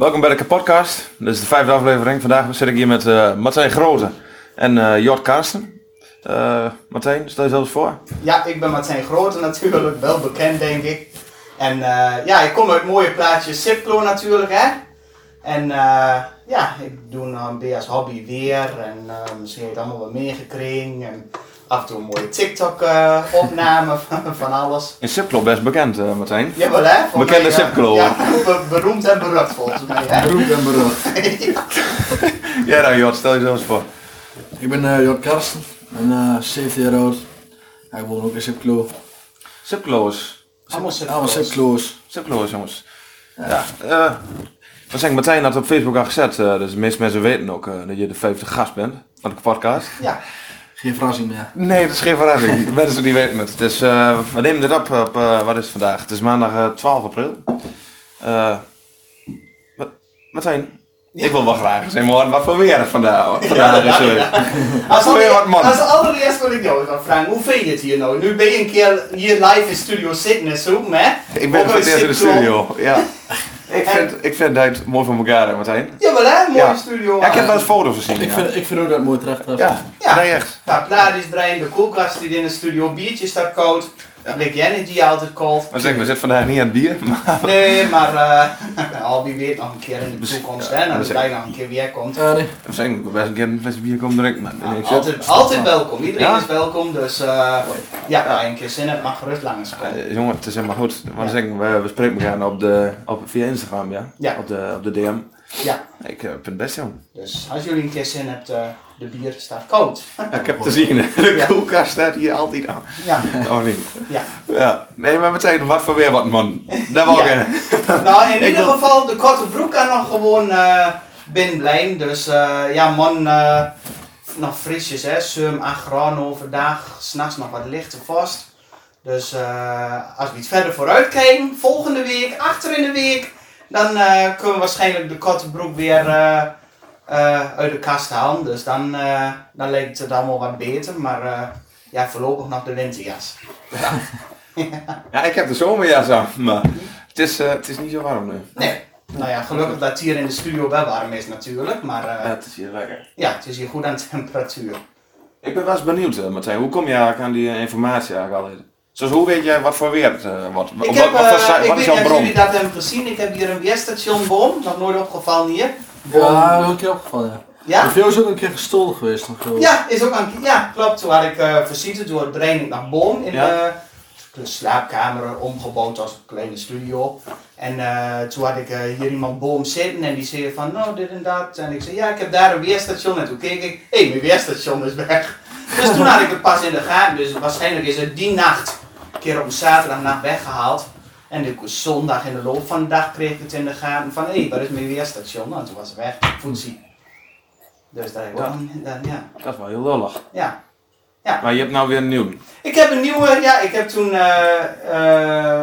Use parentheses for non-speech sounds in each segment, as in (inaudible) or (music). Welkom bij de podcast. Dit is de vijfde aflevering. Vandaag zit ik hier met eh Martijn Grote en eh Jort Karsten. Eh Martijn, stel jezelf eens voor. Ja, ik ben Martijn Grote natuurlijk, wel bekend denk ik. En eh, ja, ik kom uit mooie plaatje Siplo natuurlijk hè. En eh, ja, ik doe een MB als hobby weer en eh, misschien heb ik het allemaal wat meegekregen. En af en toe een mooie TikTok eh opname (laughs) van, van alles. In Sipclub best bekend, eh, Martijn. Jawel hè? volgens Bekende mij, eh, Siplo. Ja, (laughs) be- beroemd en berucht volgens mij hè. Beroemd en berucht. Ja, dan Jort, stel jezelf eens voor. Ik ben eh Jort Karsten, ik ben eh 17 jaar oud. Ja, ik woon ook in Sipklo. Sipclubs. allemaal Allemaal Siplo. Sipklo's. Sipclubs, jongens. Ja. eh wat zeg ik, Martijn had op Facebook al gezet, eh, dus de meeste mensen weten ook eh, dat je de vijfde gast bent van de podcast. Ja, Geen verrassing meer. Nee, dat is geen verrassing. Mensen die weten het. Dus eh, we nemen dit op op, eh, wat is het vandaag? Het is maandag eh, 12 april. Eh Ma- Martijn, ik wil wel graag eens even horen wat voor weer het vandaag, hoor. vandaag is. eh, Als, Goeie wat, man. als allereerst wil ik jou gaan vragen, hoe vind je het hier nou? Nu ben je een keer hier live in Studio Sickness ook, hè? Ik ben Ook voor het een eerst in de sitcom. studio. Ja. Ik vind, ik vind het mooi van elkaar, hè, Martijn. Jawel hè, mooie Ja. studio. Ja, ik heb wel eens foto's gezien. Ik ja. vind, ik vind ook dat het mooi terecht heeft. Ja, Ja. nee echt. Ja, klaar is Brian, de koelkast die in de studio, biertje staat koud. Een blikje energy altijd koud. Maar zeg, we zitten vandaag niet aan het bier. Maar Nee, maar eh (laughs) al wie weet nog een keer in de Misschien- toekomst, ja, hè, dat dat is- Brian nog een keer weer komt. Ja, nee. we zijn ik wil best een keer een flesje bier komen drinken. Maar nee, ik zit- altijd, altijd welkom, iedereen Ja? is welkom, dus eh ja, als je een keer zin hebt, mag gerust langs komen. Eh, jongen, het is helemaal goed. Maar dan zeg ik, we, we spreken elkaar op de, op, via Instagram, ja? Ja. Op, de, op de DM. Ja, Ik eh, vind het best, jong. dus als jullie een keer zin hebben, de bier staat koud. ik heb te zien, de koelkast staat hier altijd aan. Ja, Oh nee. ja. Ja. Nee, maar meteen, wat voor weer wat, man. Dat wil ik, Ja. eh, Nou, in Ik ieder wil- geval, de korte broek kan nog gewoon eh binnen blijven. Dus eh, ja, man, eh, nog frisjes, hè. 7, 8 graden overdag. S'nachts nog wat lichter vast. Dus eh, als we iets verder vooruit kijken, volgende week, achter in de week, dan eh, kunnen we waarschijnlijk de korte broek weer eh, eh, uit de kast halen. Dus dan, eh, dan lijkt het allemaal wat beter. Maar eh, ja, voorlopig nog de winterjas. Ja, ik heb de zomerjas aan, maar het is, eh, het is niet zo warm nu. Nee. Nou ja, gelukkig dat het hier in de studio wel warm is natuurlijk, maar eh, Ja, het is hier lekker. ja, het is hier goed aan temperatuur. Ik ben wel eens benieuwd, eh, Martijn. Hoe kom je eigenlijk aan die eh, informatie eigenlijk altijd? Zoals, hoe weet jij wat voor weer het eh, wordt? Op Ik, wat, heb, wat, voor eh, site- wat ik is weet niet jouw of bron? jullie dat hebben gezien, ik heb hier een weerstationboom, nog nooit opgevallen hier. Boom. Ja, dat is ook een keer opgevallen. Ja. Ja? De video is ook een keer gestolen geweest. Nog wel. Ja, is ook aan, ja, klopt. Toen had ik eh visite door het brein naar boom in Ja. de, de slaapkamer omgebouwd als een kleine studio. En eh, toen had ik eh, hier iemand boom zitten en die zei van nou dit en dat. En ik zei ja, ik heb daar een weerstation. En toen keek ik, hé, mijn weerstation is weg. (laughs) Dus toen had ik het pas in de gaten. Dus waarschijnlijk is het die nacht, een keer op een zaterdagnacht weggehaald. En ik was zondag in de loop van de dag kreeg ik het in de gaten van hé, waar is mijn weerstation? En toen was het weg, voetzie. Dus daar heb ik Ja. ook niet- dan- ja. Dat is wel heel lollig. Ja. Maar je hebt nou weer een nieuw. Ik heb een nieuwe, ja, ik heb toen eh, eh,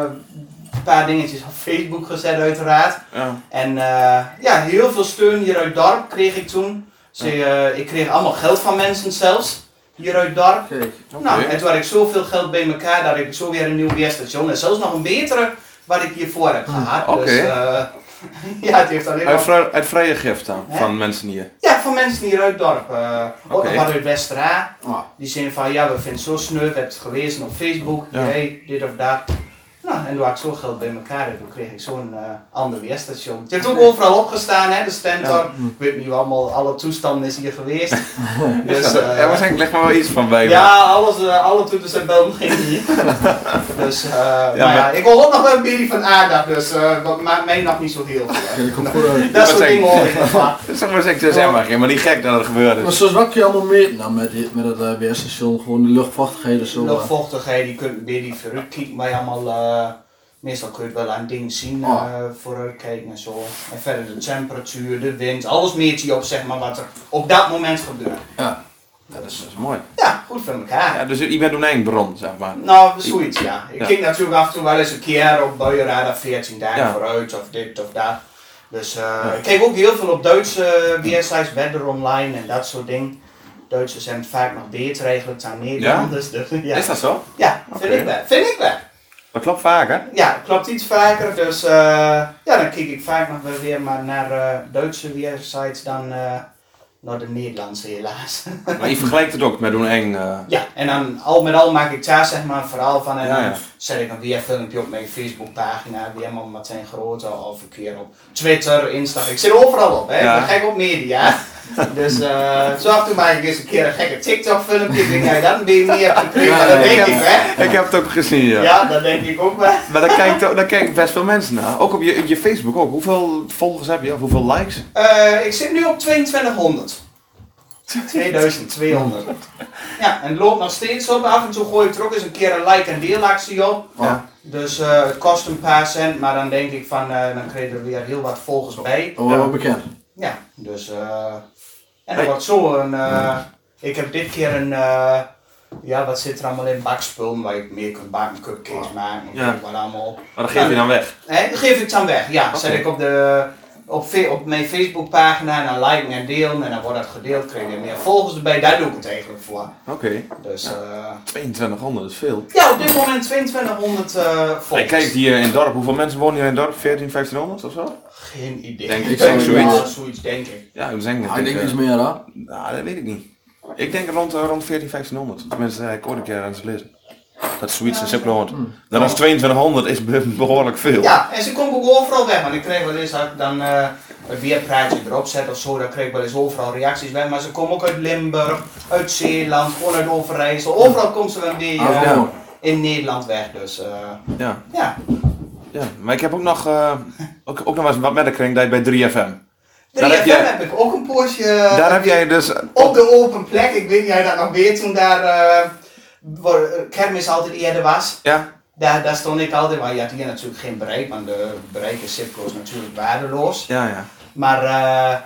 een paar dingetjes op Facebook gezet uiteraard. Ja. En eh, ja, heel veel steun hier uit het dorp kreeg ik toen. Dus, eh, ik kreeg allemaal geld van mensen zelfs, hier uit het dorp. Kijk. Nou, en toen had ik zoveel geld bij elkaar dat ik zo weer een nieuw weerstation en zelfs nog een betere wat ik hiervoor heb gehad. Hm, oké. Dus eh, (laughs) ja, het heeft alleen Uit, maar... vrij, uit vrije gift dan, Hè? van mensen hier. Ja, van mensen hier uit het dorp. eh, Ook Oké. nog wat uit Westra. Ah, Die zijn van, ja, we vinden het zo sneu, we hebben het gelezen op Facebook, Ja. hey, dit of dat. Nou, en toen had ik zo geld bij elkaar en toen kreeg ik zo'n eh, ander weerstation. Het heeft ook overal opgestaan, hè, de Stentor. Ja. Ik weet niet hoe allemaal, alle toestanden is hier (laughs) geweest. Dus, dus, er eh, waarschijnlijk ligt maar wel iets van bij. me. ja, alles, eh, alle toeters en belden gingen (laughs) hier. dus, eh, maar ja, maar- ik hoor ook nog wel een beetje van aardacht, dus eh, dat maakt mij nog niet zo heel veel. (laughs) kijk, ik kom goed uit. Dat soort zeggen. dingen hoor ik nog (laughs) wel. Dat is Dus maar zeggen, dat is helemaal geen, maar die gek dat het gebeurde. Maar zoals wat kun je allemaal meten nou, met, dit, met dat eh, weerstation? Gewoon de luchtvochtigheid en zo. eh. Luchtvochtigheid, je kunt weer die vooruit kijken, maar je allemaal, eh, meestal kun je het wel aan dingen zien, eh Ah. vooruit kijken en zo. En verder de temperatuur, de wind, alles meet je op zeg maar wat er op dat moment gebeurt. Ja. Ja, dat, is, dat is mooi. Ja, goed voor elkaar. Ja, dus je bent een eindbron, zeg maar. Nou, zoiets ja. Ik Ja. kijk natuurlijk af en toe wel eens een keer op buienradar 14 dagen Ja. vooruit of dit of dat. Dus eh, ik kijk ook heel veel op Duitse uh, weersites, weather online en dat soort dingen. Duitsers zijn het vaak nog beter eigenlijk dan Nederlanders. Dus, (laughs) ja. Is dat zo? Ja, vind Oké. ik wel. Vind ik wel. Dat klopt vaker. Ja, het klopt iets vaker. Dus eh, ja, dan kijk ik vaak nog wel weer maar naar eh, Duitse weersites dan eh, naar de Nederlandse helaas. (laughs) Maar je vergelijkt het ook met een eng. eh, ja, en dan al met al maak ik daar zeg maar een verhaal van. En Ja, ja. dan zet ik een weerfilmpje op mijn Facebookpagina, Weerman Martijn Grote, of een keer op Twitter, Instagram. Ik zit overal op, hè. Ja. Ik ben gek op media. dus eh, zo af en toe maak ik eens een keer een gekke TikTok-filmpje. Ik denk, ja, dan ben je meer op de Ja, dat ja, ja. denk ik, hè. Ik heb het ook gezien, ja. Ja, dat denk ik ook wel. Maar daar kijken daar kijken best veel mensen naar. Ook op je, op je Facebook ook. Hoeveel volgers heb je? Of hoeveel likes? Eh, ik zit nu op 2200. 2200. Ja, en het loopt nog steeds op. Af en toe gooi ik er ook eens een keer een like- en deelactie op. Ja. Dus eh, het kost een paar cent, maar dan denk ik van, eh, dan krijg je er weer heel wat volgers bij. Oh, wel bekend. Ja, dus... eh, en Hey. dat wordt zo een... eh, ik heb dit keer een... eh, ja, wat zit er allemaal in? Bakspullen waar je mee kunt bakken, cupcakes maken, Oh. Ja. wat allemaal. Maar dat geef je dan weg. Hè, dat geef ik dan weg. Ja, zet Oké. ik op, de, op, fe- op mijn Facebookpagina en dan liken en delen. En dan wordt dat gedeeld, krijg je meer volgers erbij. Daar doe ik het eigenlijk voor. Oké. Dus eh, 2200 dat is veel. ja, op dit moment 2200 eh Ik volgers. kijk hier in het dorp. Hoeveel mensen wonen hier in het dorp? 14, 1500 of zo? Geen idee. Denk ik denk zoiets. Ja, zoiets denk ik. Ja, Ah, ik denk Ja, het. Ah, ik denk iets meer hoor. eh, nou, dat weet ik niet. Ik denk rond, eh, rond 14, 1500. Tenminste, eh, ik ooit een keer aan het lezen. Dat is zoiets dat ik hoort. Dan is 2200 is be- (laughs) behoorlijk veel. Ja, en ze komt ook overal weg. Want ik kreeg wel eens, als ik dan eh een weerpraatje erop zet of zo, dan kreeg ik wel eens overal reacties weg. Maar ze komen ook uit Limburg, uit Zeeland, gewoon uit Overijssel. Overal komt ze wel weer Ah, eh, ja. in Nederland weg. Dus eh, Ja. ja. ja. Maar ik heb ook nog, eh, ook, ook nog wel eens wat met de kring dat je bij 3FM. 3FM Daar heb heb, jij- ik ook een poosje Daar heb jij dus... op de open plek. Ik weet niet of je dat nog weet toen daar eh, waar, eh, kermis altijd eerder was. Ja, Daar, daar stond ik altijd, maar je had hier natuurlijk geen bereik, want de bereik in Sipco is natuurlijk waardeloos. ja, ja. Maar eh,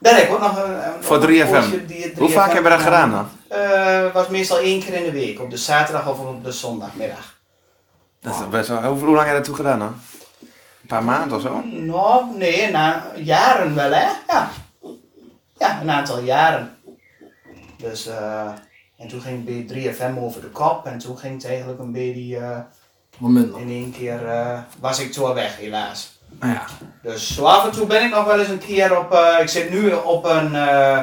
daar heb ik ook nog een... een- Voor nog een 3FM. poosje die 3FM Hoe vaak hebben we dat gedaan dan? Eh, was meestal één keer in de week, op de zaterdag of op de zondagmiddag. Dat is best wel... Hoe, hoe lang heb je dat toe gedaan dan? Een paar maanden of zo? Nou, nee, na jaren wel, hè? Ja. Ja, een aantal jaren. Dus, eh, en toen ging B3FM over de kop en toen ging het eigenlijk een beetje, eh, Moment nog. in één keer eh, was ik toen weg, helaas. Nou ja. Dus zo af en toe ben ik nog wel eens een keer op, eh, ik zit nu op een eh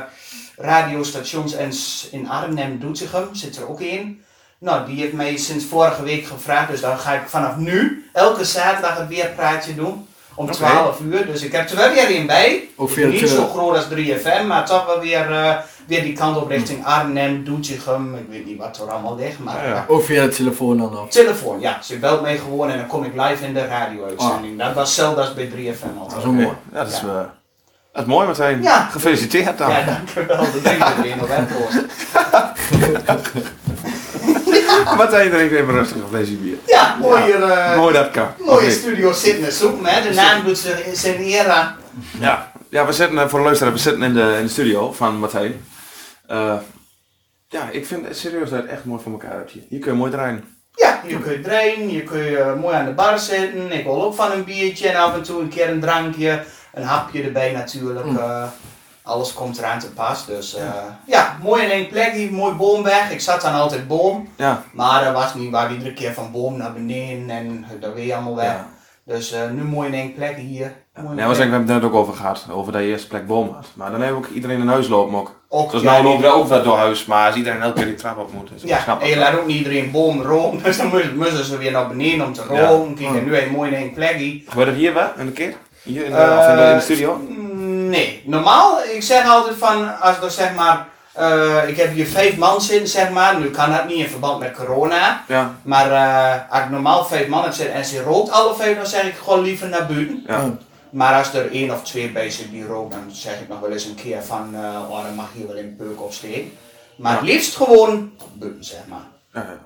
radiostations en s- in Arnhem, Doetinchem, zit er ook in. Nou, die heeft mij sinds vorige week gevraagd, dus dan ga ik vanaf nu elke zaterdag het weerpraatje doen. Om Oké. 12 uur, dus ik heb er wel weer een bij. Ook Is via Niet het, eh, Mm. zo groot als 3FM, maar toch wel weer, eh, weer die kant op richting Arnhem, Doetinchem. Ik weet niet wat er allemaal ligt, maar Ja, ja. Ook via de telefoon dan nog. Telefoon, ja. Ze belt mij gewoon en dan kom ik live in de radio-uitzending. Dat was zelfs als bij 3FM Ah. Dat altijd. is ook mooi. Ja, dat is, Ja. eh, dat is mooi meteen. Ja. Gefeliciteerd dan. Ja, dankjewel. Dat denk ik erin op Apple. Martijn drinkt even rustig een flesje bier. Ja, mooie, eh, mooi dat kan. Of mooie niet? studio Sydney Zoom, hè. De naam doet ze- zijn eer aan. Ja. ja, we zitten, eh, voor de luisteraar, we zitten in de, in de studio van Martijn. Eh, ja, ik vind het serieus dat het echt mooi voor elkaar hebt hier. Hier kun je mooi draaien. Ja, hier kun je trainen, hier kun je eh, mooi aan de bar zitten. Ik wil ook van een biertje en af en toe een keer een drankje. Een hapje erbij natuurlijk. eh, alles komt eraan te pas. Dus eh, ja, mooi in één plek, die mooi boomweg. Ik zat dan altijd boom. Ja. Maar dat was niet waar iedere keer van boom naar beneden en dat weer allemaal weg. Ja. Dus eh, nu mooi in één plek hier. Mooi Ja, in we één zeggen, we hebben het net ook over gehad, over dat je eerste plek boom had. Maar dan hebben we ook iedereen in huis lopen ook. Ook, dus ja, nou die- lopen we ook wel door huis, maar als iedereen elke keer die trap op moet, is het Ja, knap. en je laat ook niet iedereen boom roken, (laughs) dus dan moesten- moesten ze weer naar beneden om te Ja. roken. Kijk, en nu heb je mooi in één plekje. Gebeurt dat hier wel, in de keer? Hier in de, Eh, of in de, in de studio? Mm, Nee, normaal, ik zeg altijd van, als er zeg maar, eh, ik heb hier vijf man zitten zeg maar, nu kan dat niet in verband met corona. Ja. Maar eh, als ik normaal vijf man heb zitten en ze rookt alle vijf, dan zeg ik gewoon liever naar buiten. Ja. Oh, Maar als er één of twee bij zitten die rookt, dan zeg ik nog wel eens een keer van, eh oh dan mag hier wel een peuk op steken. Maar het liefst gewoon buiten zeg maar. Ja, ja.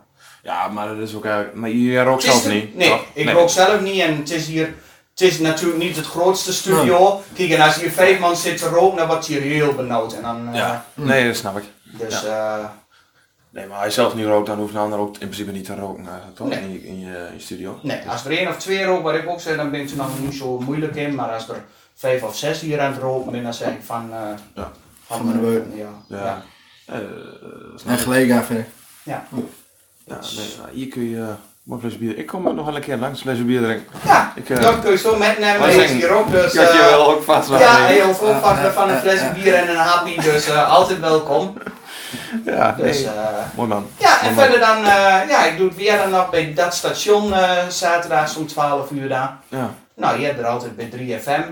Ja, maar dat is ook eigenlijk... Maar jij rookt Het is zelf de- niet? Nee, toch? ik rook zelf niet en het is hier. Het is natuurlijk niet het grootste studio. Kijk, en als hier vijf man zit te roken, dan wordt hier heel benauwd. En dan, eh, Ja. Nee, dat snap ik. Dus eh, Nee, maar als je zelf niet rookt, dan hoeft een ander ook in principe niet te roken, eigenlijk, toch? Nee. In, je, in, je, in je studio. nee, als er één of twee roken, wat ik ook zeg, dan ben ik er nog niet zo moeilijk in. Maar als er vijf of zes hier aan het roken ben, dan zeg ik van... eh, Ja. Van de beuk. Ja. Ja. ja. Eh, En gelijk aan vind ik. ja. ja, nee, nou, hier kun je... eh, Mooi flesje bier. Ik kom nog wel een keer langs, een flesje bier drinken. Ja, Ik, eh, dat kun je zo meenemen. wij Hij is zijn- hier ook, dus... Ik had je eh, wel ook vast laten ja, nemen. heel veel van, van een fles bier en een happy, dus eh, altijd welkom. Ja, Dus, nee. eh, Mooi man. ja, en Mooi man. verder dan, eh, ja, ik doe het weer dan nog bij dat station eh, zaterdags om 12 uur daar. Ja. Nou, je hebt er altijd bij 3FM.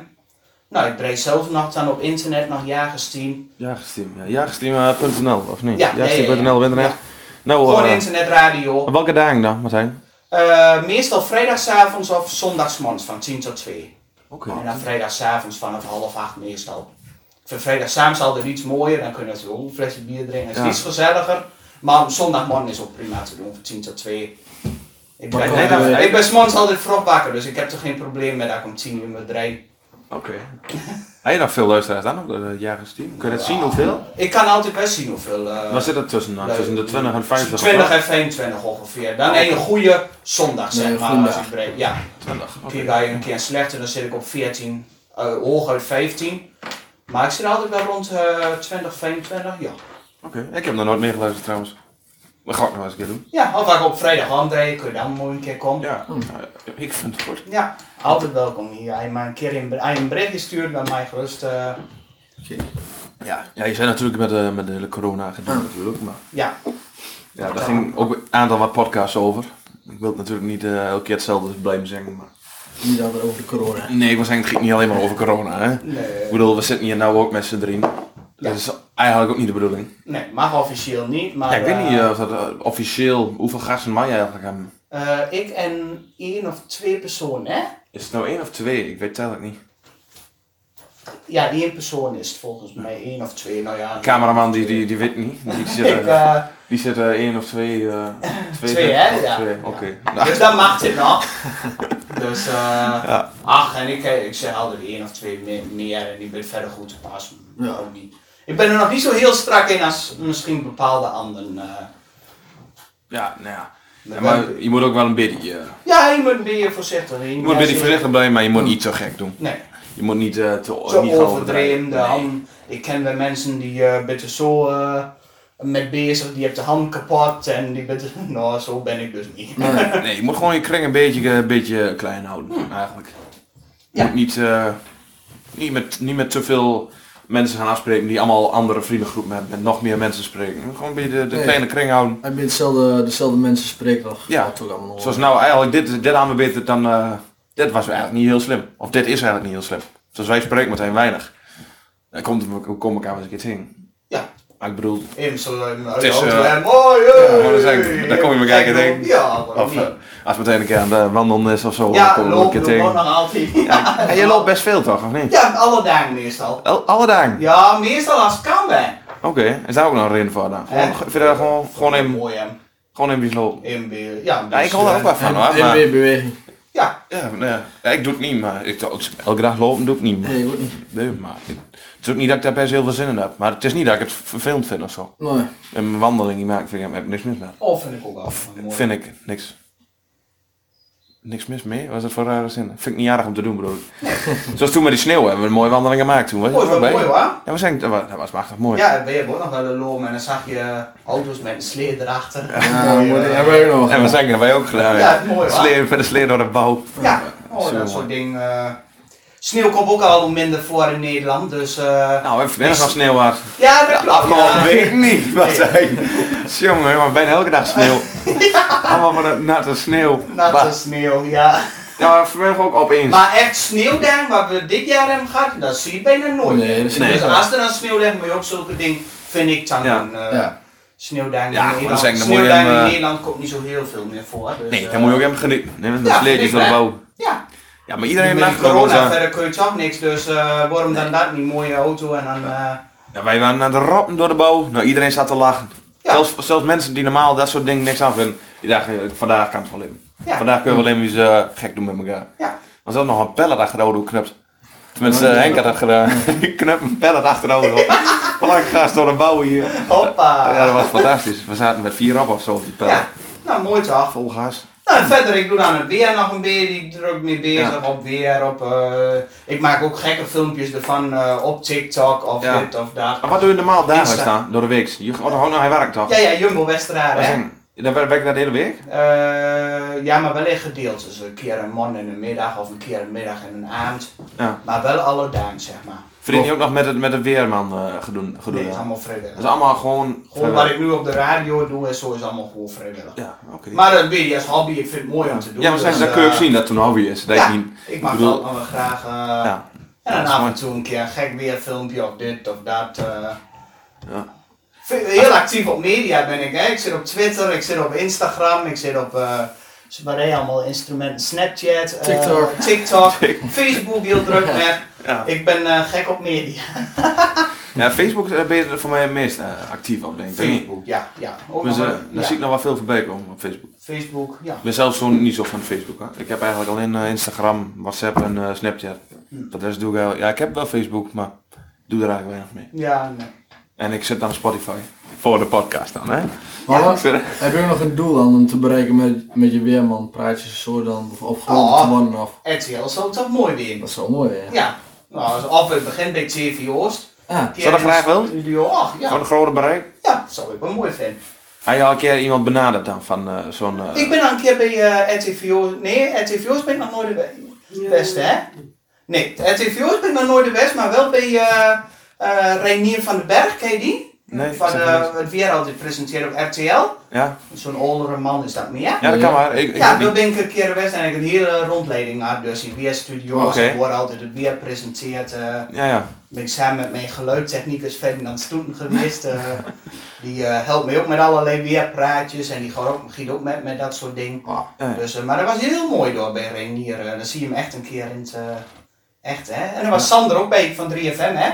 Nou, ik breed zelf nog dan op internet nog jagersteam. Jagersteam. Ja, eh, jagersteam.nl of niet? Ja, ja, ja, ja. Jagersteam.nl, ben er echt. Nou, Gewoon eh, internetradio. op welke dagen dan, Martijn? Eh, meestal vrijdagavonds of zondagsmorgens van 10 tot 2. Oké. En dan vrijdagavonds vanaf half acht meestal. Ik vind vrijdagavond altijd iets mooier, dan kunnen we ook een flesje bier drinken. Dus Het is Ja. iets gezelliger. Maar op zondagmorgen is ook prima te doen, van 10 tot 2. Ik Maar ben, kom je net af- weer- ik ben 's morgens altijd vroeg wakker, dus ik heb er geen probleem mee dat ik om 10 uur moet rijden. (laughs) Oké. Heb je nog veel luisteraars aan op de jagersteam? Kun je dat zien hoeveel? nou, Ik kan altijd best zien hoeveel. eh, Waar zit dat tussen dan? leuk. Tussen de 20 en Ah, 50? of 20 wat? en 25 ongeveer. Dan heb je een goede zondag, Nee, zeg een maar. goede Als dag. ik breed. Ja. 20. Een oké. keer ga je een keer slechter, dan zit ik op 14, eh hooguit 15. Maar ik zit altijd wel rond eh 20, 25, ja. Oké, ik heb nog nooit meer geluisterd trouwens. Maar ga ik nog eens een keer doen. Ja, of als ik op vrijdag handrij, kun je dan mooi een keer komen. Ja, Ja, nou, ik vind het goed. altijd welkom hier. Als je maar een keer in, als je een berichtje stuurt, dan mij gerust. eh, Ja, ja je zei natuurlijk met, eh, met de hele corona gedaan natuurlijk, maar ja, Ah. ja, daar ging ook een aantal wat podcasts over. Ik wil het natuurlijk niet eh, elke keer hetzelfde blijven zeggen, maar... Niet altijd over de corona. Nee, ik wil zeggen, het ging niet alleen maar over corona, hè. Ik nee, bedoel, we zitten hier nou ook met z'n drieën. Ja. Dat is eigenlijk ook niet de bedoeling. nee, mag officieel niet. Maar, Ja, ik weet eh, niet eh, of dat eh, officieel, hoeveel gasten mag je eigenlijk hebben? eh, ik en één of twee personen, hè? Is het nou één of twee? Ik weet het eigenlijk niet. Ja, één persoon is het volgens mij, één of twee, nou ja. De cameraman die, die, die weet niet. Die zit, Ik, eh, eh, die zit eh, één of twee. eh, Twee, hè? oh, Ja. twee, Ja. Oké. Dus Nou, dat mag dit (laughs) nog. Dus, eh, Ja. ach, en ik, ik zeg altijd één of twee me- meer en ik ben verder goed te pas. Ja. Ook niet. Ik ben er nog niet zo heel strak in als misschien bepaalde anderen. eh. Ja, nou ja. Dat Ja, maar werkt. je moet ook wel een beetje. eh, ja, je moet een beetje voorzichtig zijn. je moet een beetje voorzichtig blijven, maar je moet niet zo gek doen. Nee, Je moet niet eh, te zo niet gaan overdreven. de Nee. hand- Ik ken wel mensen die eh bitte zo eh, met bezig, die hebben de hand kapot en die bitte, (laughs) nou zo ben ik dus niet. Nee. Nee, je moet gewoon je kring een beetje, een beetje klein houden, eigenlijk. Je Hmm. Ja. moet niet, eh, niet, met, niet met te veel mensen gaan afspreken die allemaal andere vriendengroepen hebben en nog meer mensen spreken. Je moet Gewoon een beetje de, de Nee. kleine kring houden. Heb je hetzelfde, dezelfde mensen spreken nog? Ja. Dat ook allemaal Zoals nou eigenlijk, dit, dit hadden we beter dan, eh, dit was eigenlijk niet heel slim. Of dit is eigenlijk niet heel slim. Zoals wij spreken meteen weinig. Dan komt, we komen elkaar wel eens een keer tegen. Ja. Maar ik bedoel, Imselen, Het is, Rotterdam, eh, mooi, hey. maar dan zijn- dan kom je me kijken en denk- Ja, waarom of, niet? eh, als het meteen een keer aan de wandelen is of zo, dan Ja, komen we wel een loop keer doe gewoon tegen. nog altijd. Ja, (laughs) En je loopt best veel toch, of niet? alle dagen meestal. Al- Alle dagen. Ja, meestal als het kan hè. Oké, is daar ook nog een reden voor dan? Gewoon, Eh? vind je dat gewoon, gewoon even, Mooi hem. gewoon even iets lopen? In beeld. Ja, een Ja, ik beetje, hou daar ook eh, wel van hoor, En maar... weer beweging. Ja, Ja, nee, ja, ik doe het niet, maar ik, ik- elke dag lopen doe ik niet, maar... Nee, ik ook niet. Nee, maar ik- het is ook niet dat ik daar best heel veel zin in heb, maar het is niet dat ik het vervelend vind of zo. Nee. En mijn wandeling die maak ik, vind ik, heb ik niks mis mee. of vind ik ook wel mooi. Vind ik niks. Niks mis mee? Wat is dat voor rare zin? Vind ik niet aardig om te doen, bedoel ik. (laughs) Zoals toen met die sneeuw hebben we een mooie wandeling gemaakt toen, weet je Mooi, wel wel bij? mooi hoor. Ja, we zijn, dat was, dat was machtig mooi. Ja, ben je ook nog wel een loom en dan zag je auto's met een sleer erachter. Ja, Mooi, maar eh, dat hebben we ook nog. En we zijn dat wij ook gedaan. Ja, het is mooi, hoor. Sleer, met de sleer door de bouw. ja, oh, Zo dat mooi. soort dingen. eh. Sneeuw komt ook al minder voor in Nederland, dus... eh, Nou, even net nog sneeuw had. ja, dat klopt. Afgelopen ja. week (laughs) niet, wat Nee. zei Jongen, maar bijna elke dag sneeuw. (laughs) Allemaal van de natte sneeuw. Natte Maar- sneeuw, ja. Ja, vanmiddag ook opeens. Maar echt sneeuwdang, wat we dit jaar hebben gehad, dat zie je bijna nooit. Nee, dat is Nee. Dus niet als er dan sneeuw ligt, moet je ook zulke dingen, vind ik dan. eh, Ja. doen. eh, Ja. Sneeuwdang Ja, in maar dan Nederland. zeg ik, dan moet je Sneeuwdang hem, in eh, Nederland komt niet zo heel veel meer voor. Dus, Nee, eh, dan moet je ook even genieten. Nee, met Ja, sleertjes vind ik door de wel. bouw. Ja, Ja, maar iedereen met maakt die gewoon corona zo. verder kun je toch niks, dus eh waarom dan dat niet? Mooie auto en dan... eh, Ja, wij waren aan de roppen door de bouw. Nou, iedereen zat te lachen. Ja. Zelfs, zelfs mensen die normaal dat soort dingen niks aan vinden. Die dachten, eh, vandaag kan het wel in. Ja. Vandaag kunnen we alleen maar eens, eh, gek doen met elkaar. ja. Maar zelfs nog een pellet achterover hoe knupt. Tenminste, Oh, ja. Henk had dat gedaan. (laughs) Ik knup een pellet achterover. op. Lang gaas door de bouwen hier. Hoppa. Ja, dat was fantastisch. We zaten met vier op of zo op die pellet. Ja, nou mooi toch. Vol gas. Nou, en verder, ik doe aan het weer nog een beetje, ik ben er ook mee bezig Ja. op weer, op... eh, ik maak ook gekke filmpjes ervan eh, op TikTok of Ja. dit of dat. Maar wat doe je normaal dagelijks Insta. dan? Door de week? Je, oh, nou, hij werkt toch? Ja, ja, Jumbo Westeraren. Dat is hè? een- Dan werk ik daar de hele week? Eh, ja, maar wel in gedeeltes. Dus een keer een man en een middag of een keer een middag en een avond. Ja. Maar wel alledaags, zeg maar. Verdien je ook nog met het, met de weerman eh gedoen? gedoen Nee, het is ja? allemaal Dat vrijwillig. is allemaal gewoon... Gewoon wat ik nu op de radio doe en zo is allemaal gewoon vrijwillig. Ja, oké. Maar dat weet je als hobby, ik vind het mooi om te doen. Ja, maar zij, dus, dat eh, kun je ook zien dat toen hobby is. Dat ja, je niet, ik maak ik bedoel- wel allemaal graag. eh, ja. dat En dan is af mooi. en toe een keer een gek weer filmpje of dit of dat. eh. Ja. Vind- Heel actief op media ben ik. Hè? Ik zit op Twitter, ik zit op Instagram, ik zit op. eh wat heb je allemaal instrumenten? Snapchat, eh, TikTok. (laughs) TikTok, Facebook heel druk weg. Ja. Ik ben eh, gek op media. ja, Facebook eh, ben je er voor mij het meest eh, actief op, denk ik. Facebook, ja. ja. Ook Dus, nog eh, wel- daar ja. zie ik nog wel veel voorbij komen op Facebook. Facebook, ja. Ik ben zelf zo niet zo van Facebook. Hè. Ik heb eigenlijk alleen eh, Instagram, WhatsApp en eh, Snapchat. Hm. Dat rest doe ik wel. Ja, ik heb wel Facebook, maar ik doe er eigenlijk weinig mee. Ja, nee. En ik zit aan Spotify. Voor de podcast dan, hè? Maar wat- Ik zit- heb je ook nog een doel dan om te bereiken met, met je weerman? Praat je zo dan of opgewonden Oh. Ah. te worden? Of, RTL zou het toch mooi weer. dat is wel mooi hè? Ja. Nou, als we beginnen bij TV Oost. Ja. Zou dat graag wel? Studio, ach, Voor ja. een groter bereik. Ja, dat zou ik wel mooi vinden. Hij je al een keer iemand benaderd dan van eh, zo'n... eh, Ik ben al een keer bij eh RTVO. Nee, RTVO's ben ik nog nooit de we- beste, hè? Nee, RTVO's ben ik nog nooit de best, maar wel bij eh eh Reinier van den Berg, ken je die? Nee, Van zeg maar niks. eh het weer altijd presenteren op RTL. ja? Zo'n oudere man is dat meer. ja, dat kan maar. Ik, ik Ja, heb daar niet- ben ik een keer geweest en ik heb een hele rondleiding gehad. Dus in weerstudio's, Oké. ik hoor altijd het weer presenteert. eh ja, ja. ben ik samen met mijn geluidstechnicus Ferdinand Stoeten geweest. (laughs) eh, die eh, helpt mij ook met allerlei weerpraatjes en die gaat ook, giet ook met, met dat soort dingen. Ah, ja. Dus, eh, maar dat was heel mooi door bij Renier. eh, dan zie je hem echt een keer in het... eh, echt, hè. En dan was Sander ook bij van 3FM, hè.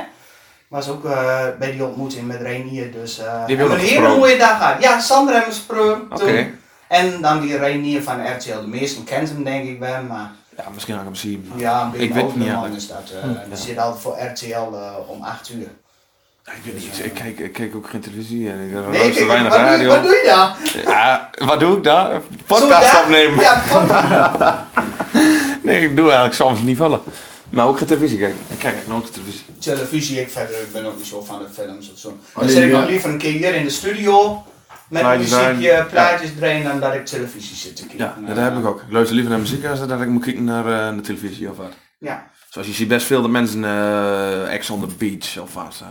Was ook eh, bij die ontmoeting met Renier. Dus eh, hebben hebben ook we een hele gesproken. mooie dag gehad. Ja, Sander hebben we gesproken Oké. toen. En dan die Renier van RTL. De meesten kent hem denk ik wel, maar... Ja, misschien had ik hem zien. maar- Ja, een beetje Ik weet het niet Hm, oudere man eigenlijk. is dat. eh, Die zit altijd voor RTL eh, om 8 uur. Ik weet niet, ik kijk, ik kijk ook geen televisie en ik Nee, luister kijk, weinig wat, doe je, radio. wat doe je daar? Ja, wat doe ik daar? Zo Podcast daar? opnemen. Ja, podcast. Nee, ik doe eigenlijk soms niet vallen. Maar ook geen televisie kijken. Ik kijk echt nooit televisie. Televisie, ik verder, ik ben ook niet zo van de films of zo. Dan Alleen, zit ik ja. dan liever een keer hier in de studio met Plaatjes muziekje, draaien. plaatjes draaien dan dat ik televisie zit te kijken. Ja, dat heb ik ook. Ik luister liever naar muziek als dat ik moet kijken naar eh, de televisie of wat. Ja. Zoals je ziet best veel de mensen eh Ex on the Beach of wat.